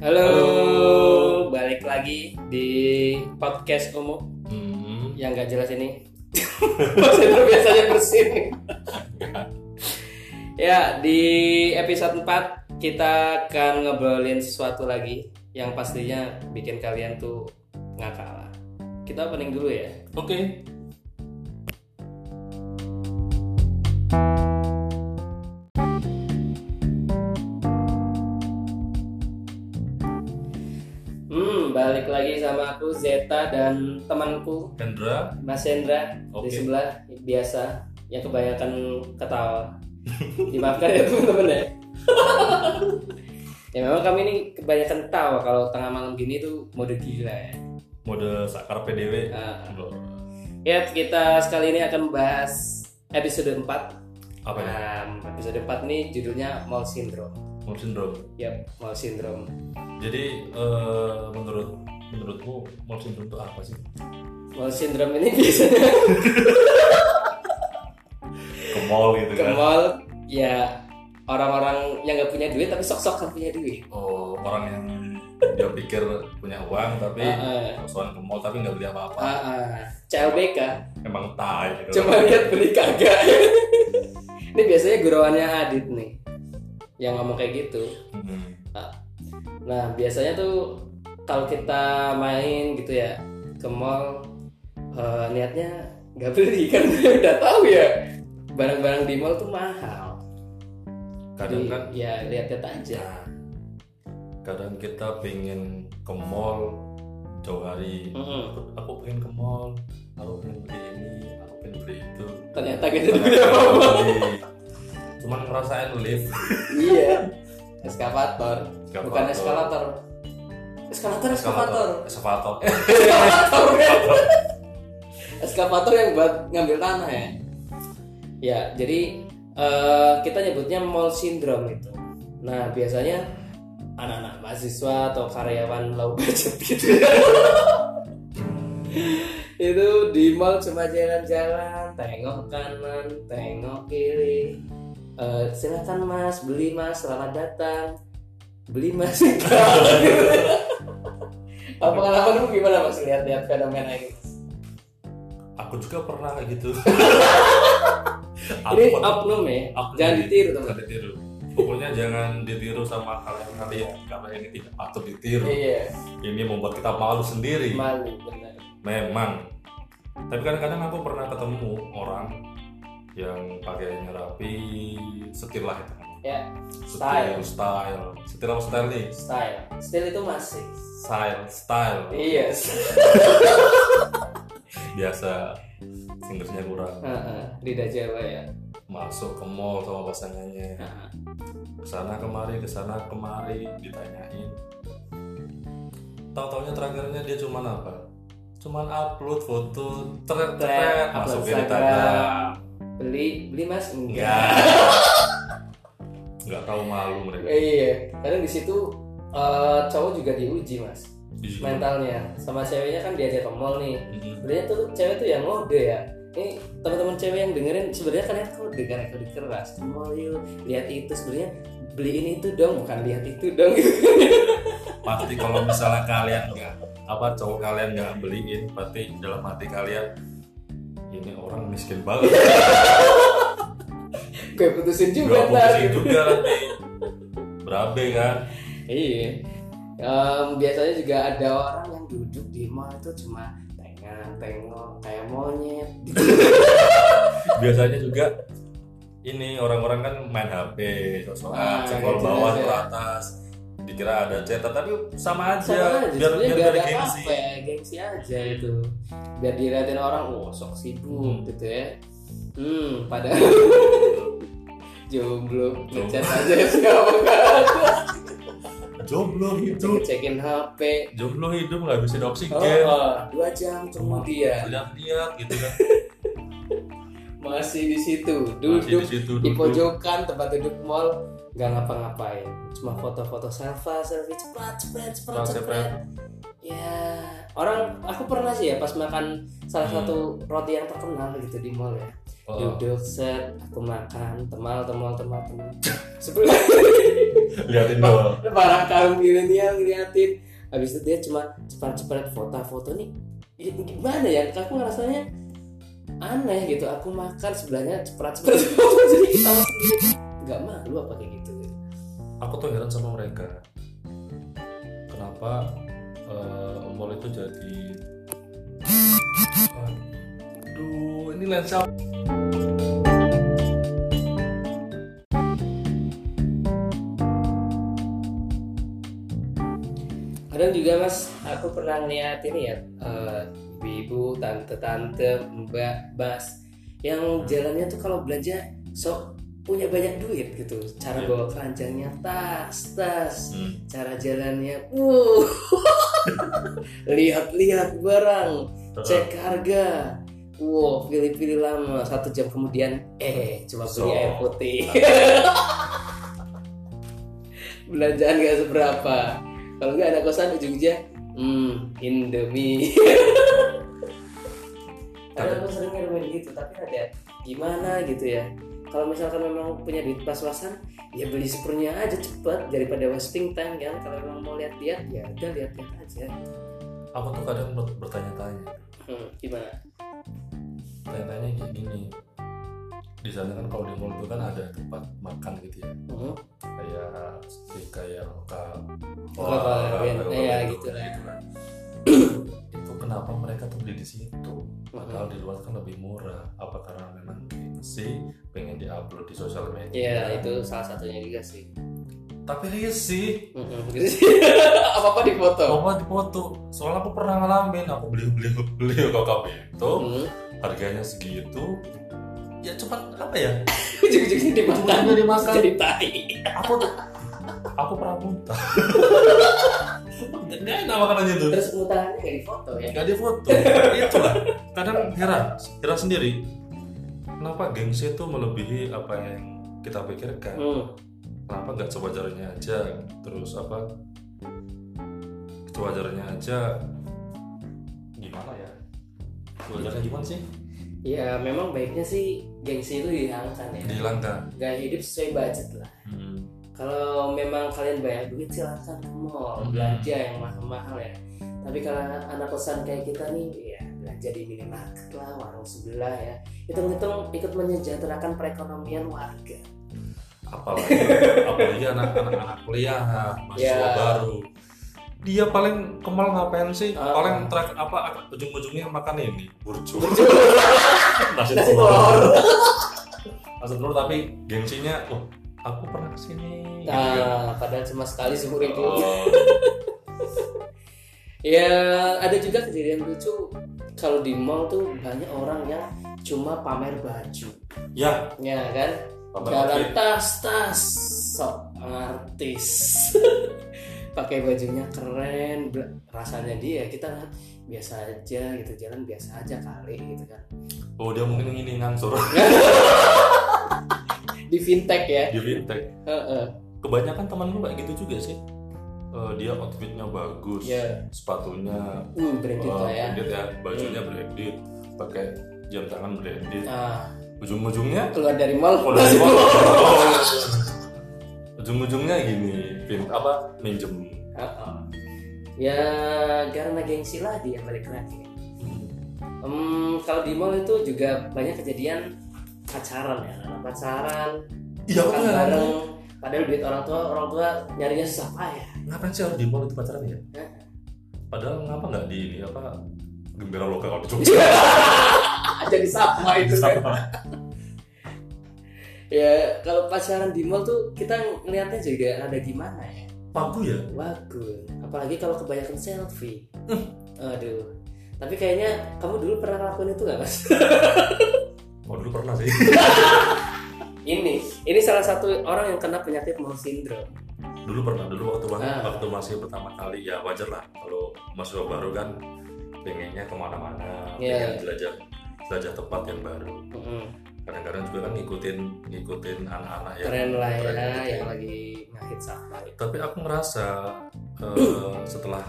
Halo, Halo. balik lagi di podcast Umu Hmm. yang gak jelas ini. Maksudnya biasanya bersih. ya, di episode 4 kita akan ngobrolin sesuatu lagi yang pastinya bikin kalian tuh ngakal. Kita opening dulu ya. Oke. Hmm, balik lagi sama aku Zeta dan temanku Kendra. Mas Hendra di Oke. sebelah biasa yang kebanyakan ketawa. Dimaafkan ya teman-teman ya. ya memang kami ini kebanyakan ketawa kalau tengah malam gini tuh mode gila ya. Mode Sakar PDW. Nah, Loh, ya kita sekali ini akan membahas episode 4. Apa ya? Nah, episode 4 ini judulnya Mall Syndrome. Mood syndrome. Yap, Mall Syndrome. Jadi eh, menurut menurutmu mood syndrome itu apa sih? Mall Syndrome ini biasanya Ke mall gitu ke kan. mall ya orang-orang yang nggak punya duit tapi sok-sok punya duit. Oh, orang yang dia pikir punya uang tapi Heeh. soal ke mall tapi nggak beli apa-apa. Ah, ah. CLBK Emang tai gitu. Ah. Coba lihat beli kagak. Ini biasanya gurauannya Adit nih yang ngomong kayak gitu. Hmm. Nah, biasanya tuh kalau kita main gitu ya ke mall eh, niatnya nggak beli kan udah tahu ya barang-barang di mall tuh mahal. Kadang kan Jadi, ya lihat-lihat aja. Nah, kadang kita pengen ke mall jauh hari Mm-mm. aku, aku pengen ke mall aku pengen beli ini aku pengen beli itu Ternyata gitu. kita Ternyata dibeli apa-apa. beli. cuman ngerasain lift iya. Eskavator, Eskavator. bukan eskalator. Eskalator, eskavator. eskavator eskavator kan? eskavator yang buat ngambil tanah ya ya jadi eh, kita nyebutnya mall syndrome itu nah biasanya anak-anak mahasiswa atau karyawan low budget gitu ya itu di mall cuma jalan-jalan tengok kanan tengok kiri Eh, silakan mas beli mas selamat datang beli mas apa pengalamanmu gimana mas lihat-lihat fenomena ini aku juga pernah kayak gitu ini pernah- oknum ya aku jangan jadi- ditiru teman jangan ditiru pokoknya jangan ditiru sama kalian-kalian karena ini tidak patut ditiru iya ini membuat kita malu sendiri malu benar Memang. Tapi kadang-kadang aku pernah ketemu orang yang pakaiannya rapi, setir lah itu. ya Setir, style, setir apa style nih? style style itu masih Style, style. iya Biasa Inggrisnya kurang. Heeh, lidah jawa ya Masuk ke mall sama pasangannya. Heeh. Kesana kemari, kesana kemari, ditanyain. Tahu-taunya terakhirnya dia cuman apa? Cuman upload foto, tret, Tret, tret, upload masuk ke Instagram. Instagram. beli beli mas enggak Enggak. Enggak Ya. tahu malu mereka. Eh, iya kadang di situ eh, cowok juga diuji mas Di- mentalnya sama ceweknya kan diajak ke mall nih Mhm. sebenarnya tuh cewek tuh yang ngode ya ini teman-teman cewek yang dengerin sebenarnya kalian kode kan kode keras mau yuk lihat itu sebenarnya beli ini itu dong bukan lihat itu dong Pasti kalau misalnya kalian enggak apa cowok kalian enggak beliin, pasti dalam hati kalian ini orang miskin banget. gue putusin Gua juga ntar putusin juga nanti. Berabe kan? iya Em, biasanya juga ada orang yang duduk di mall itu cuma tengah tengok kayak monyet gitu. Biasanya juga ini orang-orang kan main HP, Ah, sosokan, scroll bawah gitu ke ya. atas dikira ada cetak tapi sama aja, sama aja Iya, biar sebenarnya biar gak dari ada gengsi apa ya gengsi aja itu biar dilihatin orang oh sok sibuk Hmm. gitu ya hmm padahal jomblo ngechat aja siapa jomblo Iya. hidup ngecekin HP jomblo hidup nggak bisa oksigen oh, oh, dua jam kemudian lihat-lihat gitu kan masih di situ masih duduk di situ di duduk. pojokan tempat duduk mall nggak ngapa-ngapain cuma foto-foto selfie selfie cepat cepat cepat Cepat, cepat cepat. ya ya orang aku pernah sih ya pas makan salah Hmm. satu roti yang terkenal gitu di mall ya Oh, duduk set aku makan temal temal temal temal sebelum liatin dong para kaum milenial ngeliatin habis itu dia cuma cepat-cepat foto-foto nih ini gimana ya aku ngerasanya aneh gitu aku makan sebelahnya cepat-cepat foto jadi kita nggak malu apa kayak gitu aku tuh heran sama mereka kenapa eh, mall itu jadi aduh ini lensa kadang juga mas aku pernah ngeliat ini ya eh, ibu-ibu tante-tante mbak bas yang jalannya tuh kalau belanja sok punya banyak duit gitu cara Iya. bawa keranjangnya tas tas hmm. cara jalannya uh lihat-lihat barang cek harga wow pilih-pilih lama satu jam kemudian eh cuma beli So. air putih belanjaan gak seberapa kalau nggak ada kosan ujungnya hmm indomie karena aku sering ngalamin gitu tapi ada gimana gitu ya kalau misalkan memang punya duit pas-pasan ya beli sepernya aja cepet daripada wasting time kan kalau memang mau lihat-lihat ya udah lihat-lihat aja aku tuh kadang ber- bertanya-tanya hmm, gimana tanya-tanya kayak gini di sana kan kalau di mall itu kan ada tempat makan gitu ya hmm. kayak steak kayak loka Loka Balen, iya, gitu lah. kan. itu kenapa mereka tuh beli di situ padahal di luar kan lebih murah apa karena memang sih pengen diupload di sosial media ya itu salah satunya juga sih tapi iya sih Mm-mm, gitu sih. apa-apa di foto apa dipoto soalnya aku pernah ngalamin aku beli beli beli loka itu hmm. harganya segitu ya cepat apa ya ujung-ujungnya dimakan Ujung-ujungnya dimakan. jadi tai aku tuh aku pernah muntah nggak enak makanannya tuh terus mutangannya nggak di foto ya nggak ada foto itulah kadang heran heran sendiri kenapa gengsi itu melebihi apa yang kita pikirkan hmm. kenapa nggak sewajarnya aja terus apa sewajarnya aja gimana ya sewajarnya gimana sih ya memang baiknya sih gengsi itu dihilangkan ya dihilangkan gaya hidup sesuai budget lah hmm. kalau memang kalian banyak duit silahkan ke mall Mhm. belanja yang mahal-mahal ya tapi kalau anak kosan kayak kita nih ya belanja di minimarket lah warung sebelah ya hitung-hitung ikut menyejahterakan perekonomian warga apalagi apalagi anak-anak anak kuliah mahasiswa Ya. baru dia paling kemal ngapain sih Ah. paling terakhir apa ujung-ujungnya makan ini burjo nasi Nasi telur telur. nasi telur tapi gengsinya wah aku pernah kesini gitu. nah gitu. padahal cuma sekali sepuluh ribu Oh, ya ada juga kejadian lucu kalau di mall tuh banyak orang yang cuma pamer baju ya ya kan pamer jalan outfit. tas tas sok artis pakai bajunya keren bla- rasanya dia kita lihat biasa aja gitu jalan biasa aja kali gitu kan oh dia mungkin ini ngangsur di fintech ya di fintech Heeh. kebanyakan teman gue kayak gitu juga sih Eh, dia outfitnya bagus ya sepatunya uh branded Oh, lah ya branded ya, bajunya branded, pakai jam tangan branded. ah Ujung-ujungnya keluar dari mall kalau dari masih mall, keluar. oh. ujung-ujungnya gini, pin apa minjem. Heeh. ya karena gengsi lah dia balik lagi Em, kalau di mall itu juga banyak kejadian pacaran ya pacaran Iya, aku makan heran. Kan bareng padahal duit orang tua orang tua nyarinya susah payah Ngapain sih harus di mall itu pacaran ya? Hah? Padahal ngapa nggak di ini apa gembira lokal kalau di Jogja? jadi sama itu kan Sama. ya kalau pacaran di mall tuh kita ngelihatnya juga ada gimana ya Pagu ya? wagu apalagi kalau kebanyakan selfie aduh tapi kayaknya kamu dulu pernah ngelakuin itu gak mas Oh dulu pernah sih. ini ini salah satu orang yang kena penyakit mall syndrome dulu pernah dulu waktu Ah. waktu masih pertama kali ya wajar lah kalau mahasiswa baru kan pengennya kemana-mana, Iya. pengen jelajah jelajah tempat yang baru. Mm-mm. kadang-kadang juga kan ngikutin ngikutin anak-anak yang keren lah ya keren gitu. yang lagi ngahit sama tapi aku ngerasa eh, setelah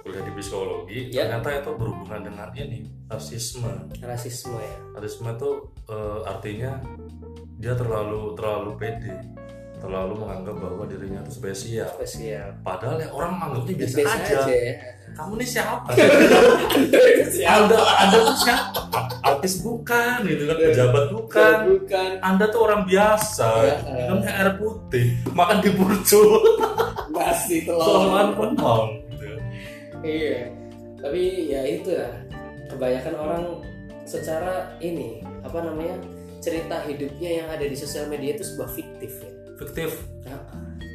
kuliah kuliah di psikologi Ya. ternyata itu berhubungan dengan ini rasisme rasisme ya rasisme itu eh, artinya dia terlalu terlalu pede terlalu menganggap bahwa dirinya itu spesial spesial padahal ya orang menganggapnya biasa, biasa aja. aja, ya. kamu ini siapa Siapa? anda anda tuh siapa artis bukan gitu kan pejabat bukan bukan anda tuh orang biasa Ya, eh. minumnya air putih makan di Oh. burjo eh, nasi telur soalan pentong gitu iya tapi ya itu lah kebanyakan orang secara ini apa namanya cerita hidupnya yang ada di sosial media itu sebuah fiktif ya fiktif Nah,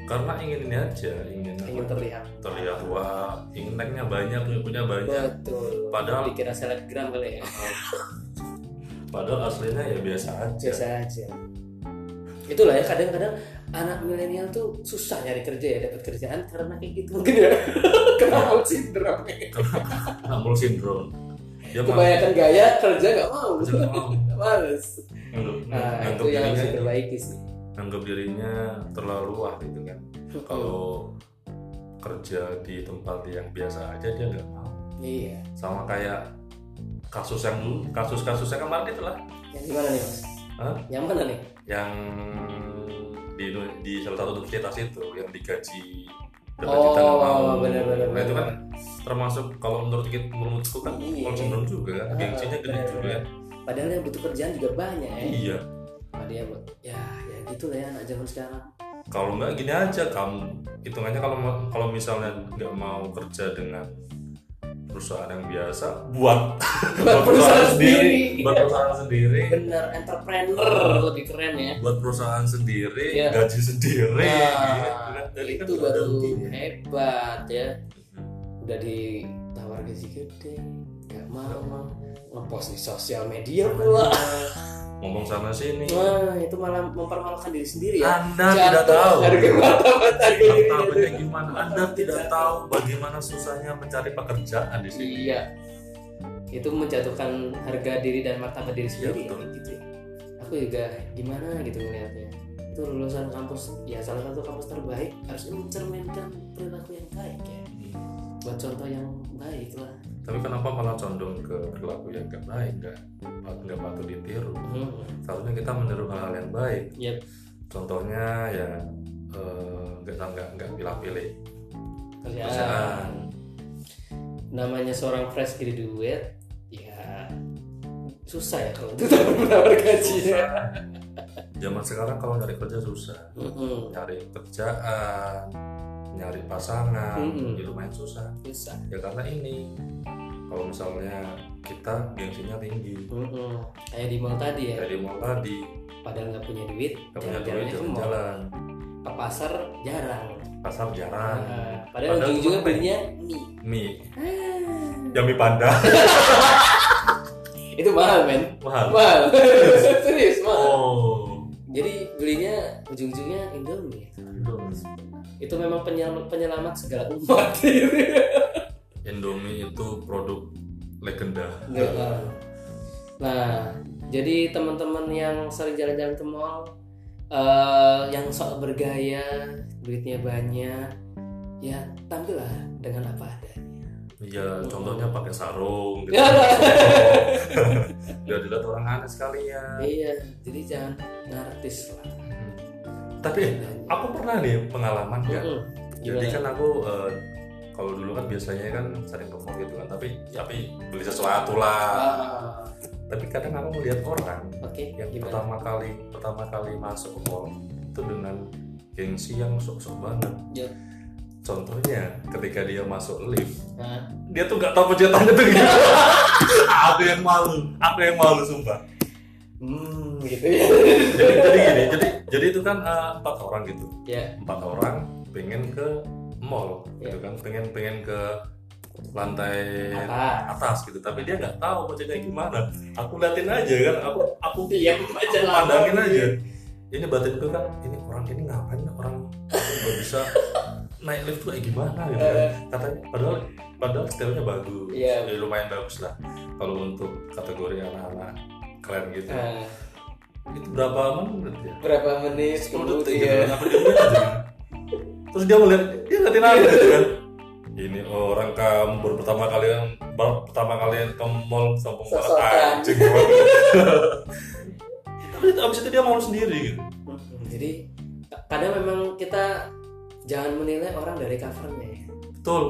karena ingin ini aja ingin, ingin terlihat terlihat wah ingin naiknya banyak punya punya Iya. banyak betul Padahal- dikira selebgram kali ya padahal aslinya ya biasa aja biasa aja itulah ya kadang-kadang anak milenial tuh susah nyari kerja ya dapat kerjaan karena kayak gitu mungkin ya Iya. kenapa sindrom Humble syndrome dia malah kebanyakan gaya kerja nggak mau kerja nggak mau Iya, males Nganggep- nah itu nganggep yang harus dirinya diperbaiki sih nganggap dirinya terlalu wah gitu kan Oh. kalau kerja di tempat yang biasa aja dia nggak mau iya sama kayak kasus yang dulu kasus-kasus yang kemarin itu lah yang gimana nih mas Hah? yang mana nih yang di di salah satu universitas itu yang digaji Oh, berjuta mau. benar-benar, nah itu benar. kan termasuk kalau menurut kita menurutku kan Iya. konsumen juga Ah, kan gengsinya gede benar-benar. juga ya. padahal yang butuh kerjaan juga banyak ya iya ada yang buat ya ya gitu lah ya anak zaman sekarang kalau nggak gini aja kamu hitungannya kalau ma- kalau misalnya nggak mau kerja dengan perusahaan yang biasa buat buat perusahaan sendiri buat perusahaan sendiri bener entrepreneur lebih keren ya buat perusahaan sendiri Iya. gaji sendiri Nah, gitu kan. Jadi kan itu nggak ada baru ruginya. hebat ya Hmm. udah ditawar gaji gede nggak mau ngepost di sosial media pula ngomong sana sini wah itu malah mempermalukan diri sendiri ya Anda Ah, tidak tahu harga mata mata Tidak tahu bedanya gimana Anda tidak tahu bagaimana susahnya mencari pekerjaan di sini iya itu menjatuhkan harga diri dan martabat diri sendiri Iya, betul. ya, gitu ya. aku juga gimana gitu melihatnya itu lulusan kampus ya salah satu kampus terbaik harus mencerminkan perilaku yang baik ya buat contoh yang baik lah tapi kenapa malah condong ke perilaku yang gak baik nggak nggak patut ditiru hmm. seharusnya kita meniru hal-hal yang baik Yep. contohnya ya eh, nggak nggak nggak pilih-pilih kerjaan Ya. Perusahaan. namanya seorang fresh graduate ya susah ya kalau untuk menawar gaji ya zaman sekarang kalau nyari kerja susah Mm-mm, nyari kerjaan nyari pasangan Mm-mm. di lumayan susah susah ya karena ini kalau misalnya kita gengsinya tinggi Mm-mm. kayak di mall tadi ya dari mau tadi padahal nggak punya duit Iya. nggak punya duit jalan-jalannya ke mall. jalan-jalan ke pasar jarang pasar jarang Nah, padahal, Ah. Padahal ujung-ujungnya cuma belinya mie mie Ah, jami panda itu mahal men mahal mahal serius mahal oh jadi belinya ujung-ujungnya Indomie Indomie. itu memang penyelamat, penyelamat segala umat Indomie itu produk legenda Nggak tahu. Nah, jadi teman-teman yang sering jalan-jalan ke mall, eh, yang sok bergaya, duitnya banyak, ya tampillah dengan apa adanya. Iya, contohnya pakai sarung gitu. Ya. Biar dilihat orang aneh sekalian. Iya, jadi jangan nartis lah. Hmm. Iya. Tapi Iya. aku pernah nih pengalaman ya. Mm-mm. Jadi Hmm, Gimana? kan aku eh, kalau dulu kan biasanya kan sering ke mall gitu kan, tapi tapi beli sesuatu lah. Ah, Tapi kadang aku melihat orang Oke, yang gimana? pertama kali pertama kali masuk ke mall itu dengan gengsi yang sok-sok banget. Ya. Contohnya ketika dia masuk lift, Nah, dia tuh nggak tahu pencetannya tuh gitu. aku yang malu, aku yang malu sumpah. hmm, gitu ya. jadi jadi gini jadi jadi itu kan eh, empat orang gitu Ya. empat orang pengen ke mall gitu kan pengen pengen ke lantai Atas. atas gitu tapi dia nggak tahu macamnya gimana aku liatin aja kan aku aku Diam aja lah. pandangin aja ini batinku kan ini orang ini ngapain ya? orang nggak bisa naik lift tuh kayak gimana gitu kan Eh. katanya padahal padahal stylenya bagus Iya. Ya, lumayan bagus lah kalau untuk kategori anak-anak keren gitu Nah, itu berapa menit ya berapa menit iya. ya. Sepuluh detik gitu kemudian? kan. Apa dia ngeliat aja kan? terus dia melihat dia ngeliatin aku gitu kan ini orang kamu baru pertama kali baru pertama kalian ke mall sombong banget Sosokan. anjing gimana? tapi abis itu dia mau sendiri gitu Jadi kadang memang kita jangan menilai orang dari covernya ya. betul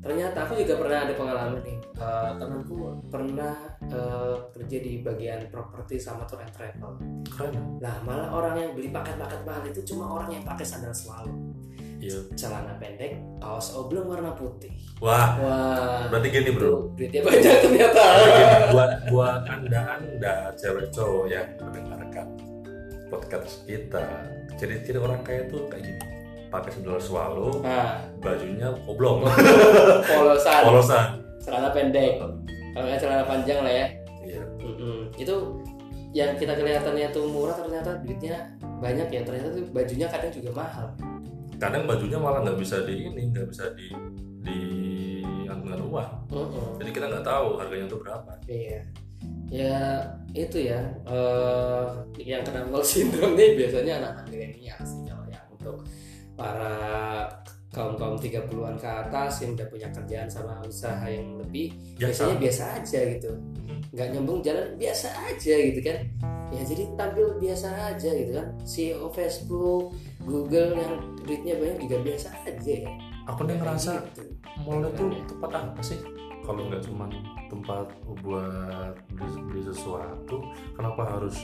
Ternyata aku juga pernah ada pengalaman nih. Eh, temanku pernah eh, kerja di bagian properti sama tour and travel. keren kan? Nah malah orang yang beli paket-paket mahal itu cuma orang yang pakai sandal selalu, iya celana pendek, kaos oblong warna putih. wah Wah, Ah, berarti gini itu bro duitnya banyak ternyata. Gini, buat buat anda anda cewek cowok yang mendengarkan podcast kita jadi ciri orang kaya tuh kayak gini pakai sandal swallow Nah, bajunya oblong polosan, polosan celana pendek, kalau nggak celana panjang lah ya. iya Mm-mm. Itu yang kita kelihatannya tuh murah ternyata duitnya banyak ya ternyata tuh bajunya kadang juga mahal. kadang bajunya malah nggak bisa di ini nggak bisa di di anggungan uang Mm-mm. jadi kita nggak tahu harganya itu berapa Iya. Ya itu ya eh, yang kena mall syndrome nih biasanya anak-anak milenial sih kalau yang untuk para kaum kaum 30-an ke atas yang udah punya kerjaan sama usaha yang lebih Ya, biasanya biasa aja gitu nggak nyambung jalan biasa aja gitu kan ya jadi tampil biasa aja gitu kan CEO Facebook Google yang duitnya banyak juga biasa aja ya aku nih ngerasa Gitu. mall itu tempat apa sih kalau nggak cuma tempat buat beli, beli sesuatu kenapa harus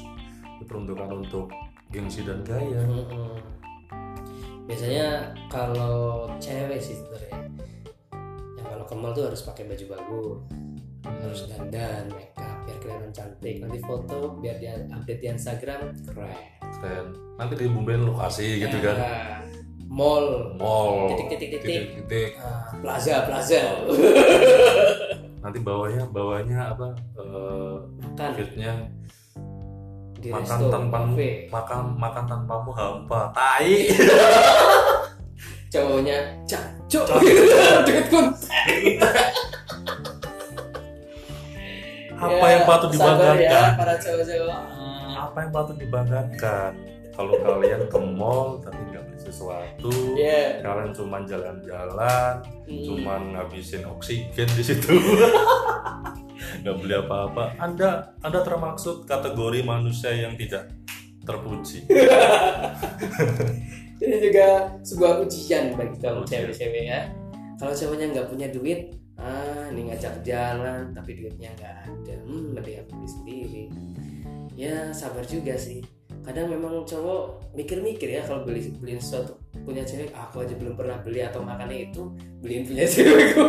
diperuntukkan untuk gengsi dan gaya Mm-mm. biasanya kalau cewek sih sebenarnya yang kalau ke mall tuh harus pakai baju bagus Hmm. harus dandan makeup biar kelihatan cantik nanti foto biar dia update di Instagram keren keren nanti dibumbain lokasi gitu kan Nah, mall mall Titik, titik, titik. titik. Ah, plaza plaza nanti bawahnya bawahnya apa eh, makan fitnya Kan, di makan resto tanpamu. kafe. makan makan tanpamu hampa tai cowoknya cacok deket kun apa yang patut sabar ya dibanggakan para cowok-cowok Ah. apa yang patut dibanggakan kalau kalian ke mall tapi nggak beli sesuatu ya kalian cuman jalan-jalan Hmm. cuman ngabisin oksigen di situ nggak beli apa-apa anda anda termaksud kategori manusia yang tidak terpuji ini juga sebuah ujian bagi kamu cewek-cewek ya kalau cowoknya nggak punya duit ah ini ngajak jalan tapi duitnya nggak ada hmm lebih aku beli sendiri ya sabar juga sih kadang memang cowok mikir-mikir ya kalau beli beliin sesuatu punya cewek "Ah, aku aja belum pernah beli atau makannya itu beliin punya cewekku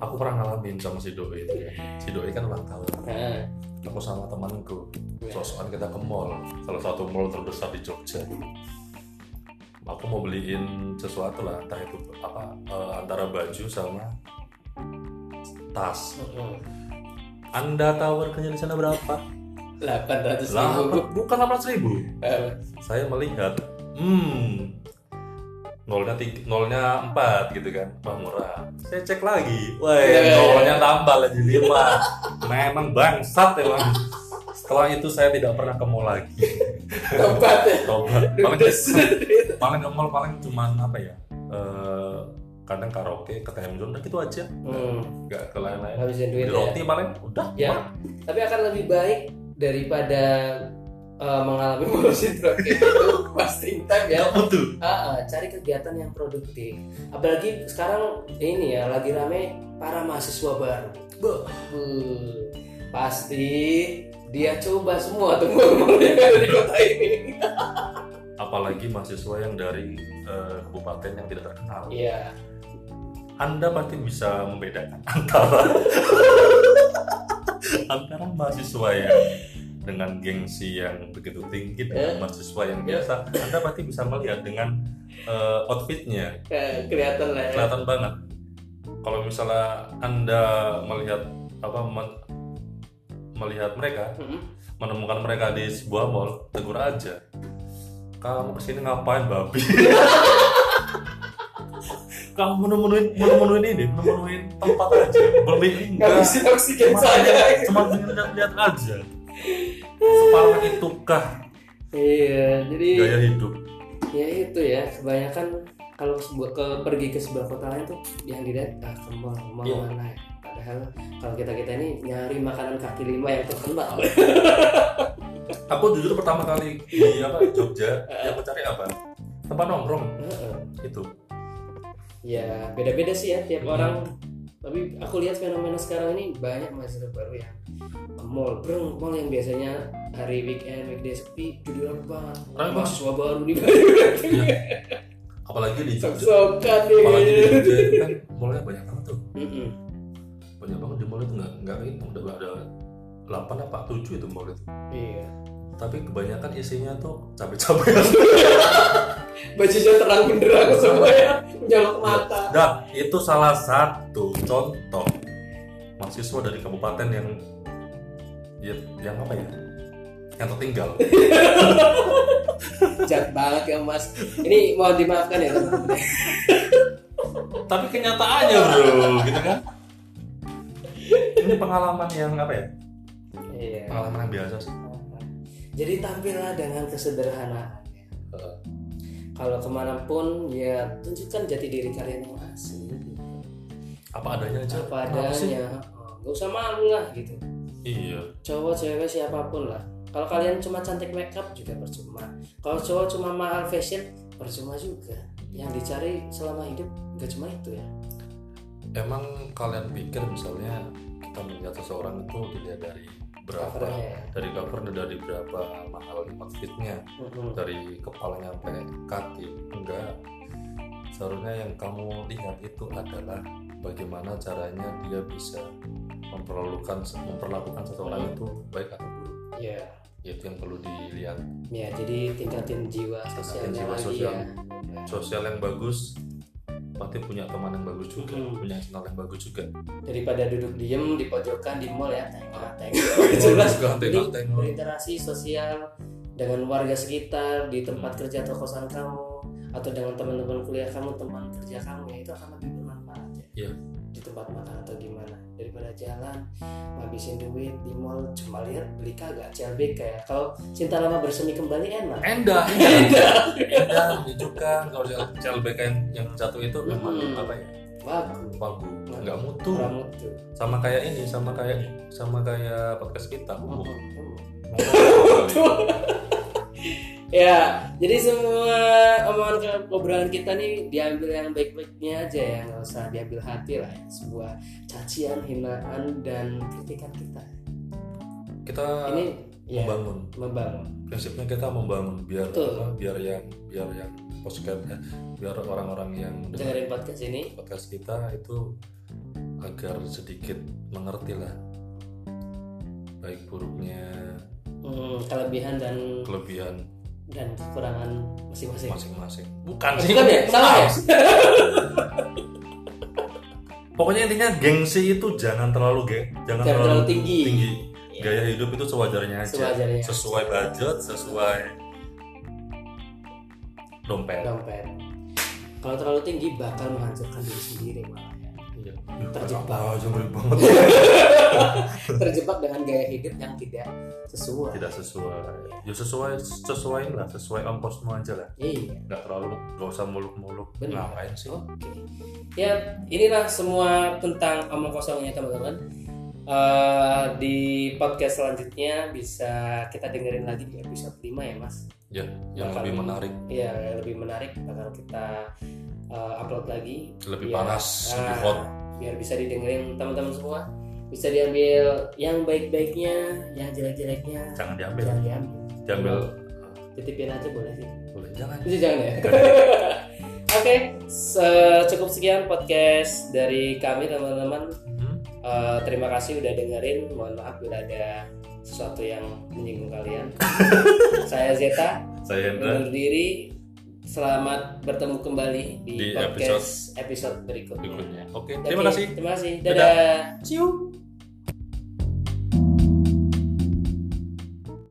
aku pernah ngalamin sama si doi itu ya. si doi kan ulang tahun nah, aku sama temanku sosokan kita ke mall salah satu mall terbesar di Jogja aku mau beliin sesuatu lah entah itu apa eh, antara baju sama tas Hmm, anda tahu harganya di sana berapa delapan ratus lah ribu bukan 800 ribu saya melihat hmm nolnya tiga, nolnya empat gitu kan wah murah saya cek lagi wah Iya. nolnya tambah lagi lima memang bangsat emang setelah itu saya tidak pernah ke mall lagi tempat ya Tobat. paling Dudes. paling ke mall paling cuman apa ya Eh, kadang karaoke ke time zone udah gitu aja hmm, nggak ke lain-lain habisin Beli duit ya roti paling udah Ya. Mak. tapi akan lebih baik daripada eh, mengalami moral syndrome kayak gitu wasting time ya Nggak butuh Ah, ah, cari kegiatan yang produktif apalagi sekarang ini ya lagi rame para mahasiswa baru Beuh, beuh. pasti dia coba semua tuh mall-mall yang ada di kota ini apalagi mahasiswa yang dari eh, kabupaten yang tidak terkenal iya anda pasti bisa membedakan antara antara mahasiswa yang dengan gengsi yang begitu tinggi dengan mahasiswa yang Ya. biasa anda pasti bisa melihat dengan eh, outfitnya eh, kelihatan lah ya. kelihatan banget kalau misalnya anda melihat apa men- melihat mereka Mm-mm. menemukan mereka di sebuah mall tegur aja kamu kesini ngapain babi kamu menemuin menemuin ini menemuin tempat aja beli enggak ngabisin oksigen Cuma- saya cuma pengen lihat-lihat aja separah itukah iya jadi gaya hidup ya itu ya kebanyakan kalau sebu- ke pergi ke sebuah kota lain tuh yang dilihat ah, ke mall mall Iya. mana ya padahal kalau kita kita ini nyari makanan kaki lima yang terkenal Iya. Aku jujur pertama kali di apa Jogja yang aku cari apa? Tempat nongkrong Heeh. itu. ya beda beda sih ya tiap Hmm. orang tapi aku lihat fenomena sekarang ini banyak mahasiswa baru yang ke mall breng mall yang biasanya hari weekend weekday sepi judul banget Rame banget. mahasiswa baru di Bandung Iya. Apalagi di Jogja. sok-sokan ya Apalagi gitu. di kayaknya. Jogja itu kan mallnya banyak banget tuh. Mm-mm. Banyak banget di mall itu nggak nggak kehitung. Udah ada 8 apa 7 itu mall itu. iya Tapi kebanyakan isinya tuh cabai-cabai. bajunya terang benderang Iya. semua ya nyolok mata Nah, itu salah satu contoh mahasiswa dari kabupaten yang ya, yang apa ya? Yang tertinggal. jahat banget ya mas ini mohon dimaafkan ya teman-teman. Tapi kenyataannya, Bro, gitu kan? Ini pengalaman yang apa ya? iya Pengalaman yang biasa sih. jadi tampillah dengan kesederhanaan ya. Heeh. kalau kemanapun ya tunjukkan jati diri kalian yang asli Apa adanya aja. apa Kenapa sih? adanya Oh, nggak usah malu lah gitu Iya. cowok cewek siapapun lah kalau kalian cuma cantik makeup juga percuma kalau cowok cuma mahal fashion percuma juga yang dicari selama hidup nggak cuma itu ya Emang kalian pikir misalnya kita melihat seseorang itu dilihat dari berapa covernya ya dari cover dari berapa mahal outfitnya Mm-mm. dari kepalanya sampai kaki enggak seharusnya yang kamu lihat itu adalah bagaimana caranya dia bisa memperlakukan memperlakukan seseorang itu baik atau buruk Iya. itu yang perlu dilihat Ya, jadi tingkatin jiwa sosialnya jiwa lagi sosial. ya. sosial yang bagus pasti punya teman yang bagus juga Hmm. punya kenal yang bagus juga Daripada duduk diem di pojokan di mall ya, tengok-tengok. Jelas Juga tengok- tengok. berinteraksi sosial dengan warga sekitar di tempat kerja atau kosan kamu atau dengan teman-teman kuliah kamu, teman kerja kamu ya itu akan lebih bermanfaat ya. Iya. Di tempat makan atau gimana daripada jalan ngabisin duit di mall cuma lihat beli kagak CLBK ya. Kalau cinta lama bersemi kembali enak. Enda, Enda, Enda, juga kalau jalan- jalan BK yang, yang satu itu memang Hmm. apa ya? Bagus. Bagus, nggak mutu, Kurang mutu. sama kayak ini, sama kayak sama kayak podcast kita. Hmm. Uh, Mm-mm. Ngomong. Ya, jadi semua omongan ke- obrolan kita nih diambil yang baik-baiknya aja ya, nggak usah diambil hati lah ya. Sebuah cacian, hinaan dan kritikan kita. kita Ini ya membangun membangun. prinsipnya kita membangun biar Betul. apa, biar yang biar yang podcast eh, biar orang-orang yang dengar Dengerin podcast ini, podcast kita itu agar sedikit mengerti lah baik buruknya hmm, kelebihan dan kelebihan dan kekurangan masing-masing. masing-masing bukan sih Bukan ya? Salah ya? pokoknya intinya gengsi itu jangan terlalu ge jangan, Jangan terlalu tinggi. tinggi. Iya. gaya hidup itu sewajarnya aja Sewajarnya. sesuai budget sesuai dompet Dompet. Kalau terlalu tinggi bakal menghancurkan diri sendiri malah ya. Iya. Terjebak. Apa aja ngeri banget Terjebak dengan gaya hidup yang tidak sesuai. tidak sesuai ya sesuai sesuai lah sesuai ongkosmu aja lah Iya. nggak terlalu nggak usah muluk-muluk Benar. ngapain sih Oke. Ya, inilah semua tentang omong kosongnya teman-teman. Eh, di podcast selanjutnya bisa kita dengerin lagi di episode 5 ya, Mas. ya yang Bakal- lebih menarik Iya, yang lebih menarik bakal kita eh, upload lagi. Iya. lebih panas lebih Nah, hot Biar bisa didengerin teman-teman semua. Bisa diambil yang baik-baiknya, yang jelek-jeleknya. jangan diambil Jangan diambil. diambil Titipin aja boleh sih. boleh jangan Itu jangan ya. Oke, se- cukup sekian podcast dari kami teman-teman. Hmm. Eh, terima kasih udah dengerin. Mohon maaf bila ada sesuatu yang menyinggung kalian. Saya Zeta saya Hendra undur diri. Selamat bertemu kembali di, Di podcast episode, berikutnya. berikutnya oke Oke, terima kasih Terima kasih. Dadah. Dadah. cium